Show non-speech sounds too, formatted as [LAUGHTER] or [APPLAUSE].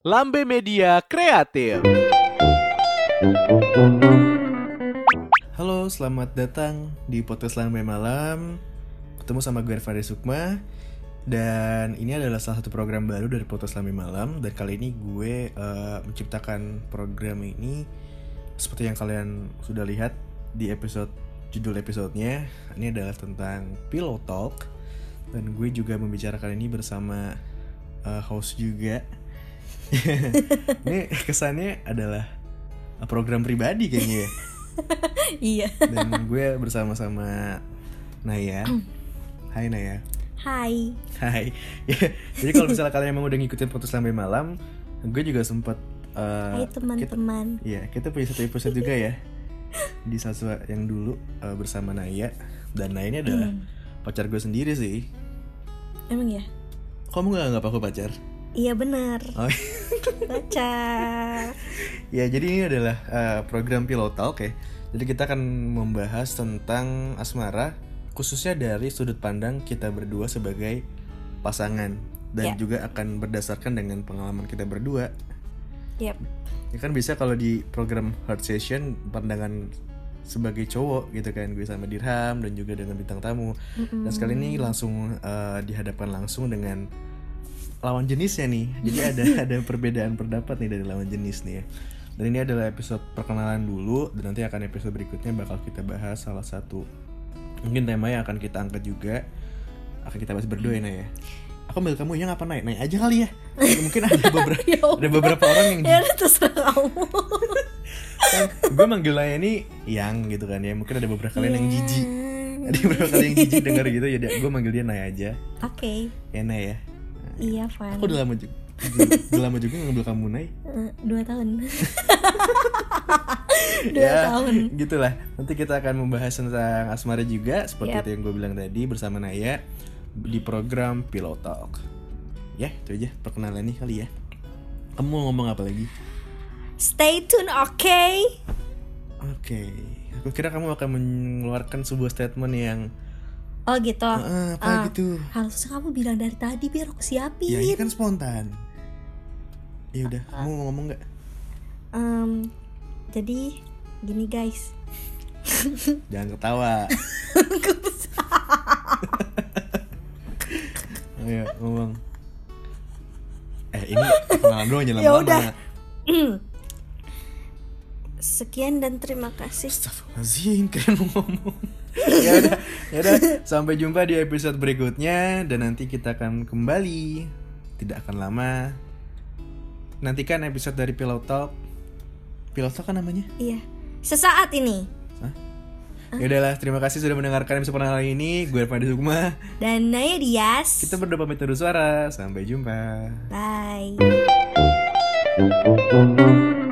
Lambe Media Kreatif. Halo, selamat datang di podcast Lambe Malam. Ketemu sama gue Fadil Sukma. Dan ini adalah salah satu program baru dari podcast Lambe Malam. Dan kali ini gue eh, menciptakan program ini seperti yang kalian sudah lihat di episode judul episodenya. Ini adalah tentang Pillow Talk. Dan gue juga membicarakan ini bersama eh, host juga. [LAUGHS] ini kesannya adalah eh, program pribadi kayaknya ya. Iya. dan gue bersama-sama Naya. Hai Naya. Hai. Hai. [LAUGHS] Ya, Jadi kalau misalnya kalian emang udah ngikutin putus sampai malam, gue juga sempet. eh, Hai teman-teman. Iya, kita punya satu episode juga ya di Saswa yang dulu eh, bersama Naya dan Naya ini adalah Hmm. pacar gue sendiri sih. Emang ya? Kamu nggak nggak aku pacar? Iya benar. Oh, [LAUGHS] Baca. ya jadi ini adalah eh, program pilot talk ya. Jadi kita akan membahas tentang asmara khususnya dari sudut pandang kita berdua sebagai pasangan dan Ya. juga akan berdasarkan dengan pengalaman kita berdua. Yap. Ya kan bisa kalau di program Heart Session pandangan sebagai cowok gitu kan gue sama Dirham dan juga dengan bintang tamu. Mm-mm. Dan sekali ini langsung eh, dihadapkan langsung dengan lawan jenisnya nih. Jadi ada ada perbedaan pendapat nih dari lawan jenis nih ya. Dan ini adalah episode perkenalan dulu dan nanti akan episode berikutnya bakal kita bahas salah satu mungkin tema yang akan kita angkat juga akan kita bahas berdua ya Nay, ya. Aku ambil kamu yang apa naik naik aja kali ya. Mungkin ada beberapa Ya Allah. ada beberapa orang yang Ya udah, terserah kamu. gue manggil Naya ini yang gitu kan ya. Mungkin ada beberapa kalian yang Iya. jijik. Ada beberapa kalian yang jijik denger gitu ya gue manggil dia Naya aja. Oke. Ya Nay ya. Iya, Fan. Aku udah lama juga udah lama juga ngambil kamu Nay Eh, dua [LAUGHS] tahun. Dua Ya, tahun. gitulah nanti kita akan membahas tentang asmara juga seperti Yap. itu yang gue bilang tadi bersama Naya di program Pillow Talk ya itu aja perkenalan nih kali ya kamu mau ngomong apa lagi Stay tune, oke? oke aku kira kamu akan mengeluarkan sebuah statement yang Oh gitu. "Ah, apa ah. gitu Harusnya kamu bilang dari tadi biar aku siapin. ya ini kan spontan ya udah kamu mau ngomong nggak Em, jadi gini guys. [CLEARS THROAT] jangan [LAUGHS] ketawa ayo Iya, ngomong eh ini kenalan doang aja Ya lama-lama udah. Sekian dan terima kasih. Astagfirullahaladzim, keren mau ngomong ya udah, ya udah. [LAUGHS] Sampai jumpa di episode berikutnya Dan nanti kita akan kembali Tidak akan lama Nantikan episode dari Pillow Talk Pillow Talk kan namanya? Iya. Sesaat ini Ya udahlah, terima kasih sudah mendengarkan episode pertama kali ini Gue Irfan Sukma dan Naya Dias. Kita berdua pamit undur suara Sampai jumpa Bye. Thank you.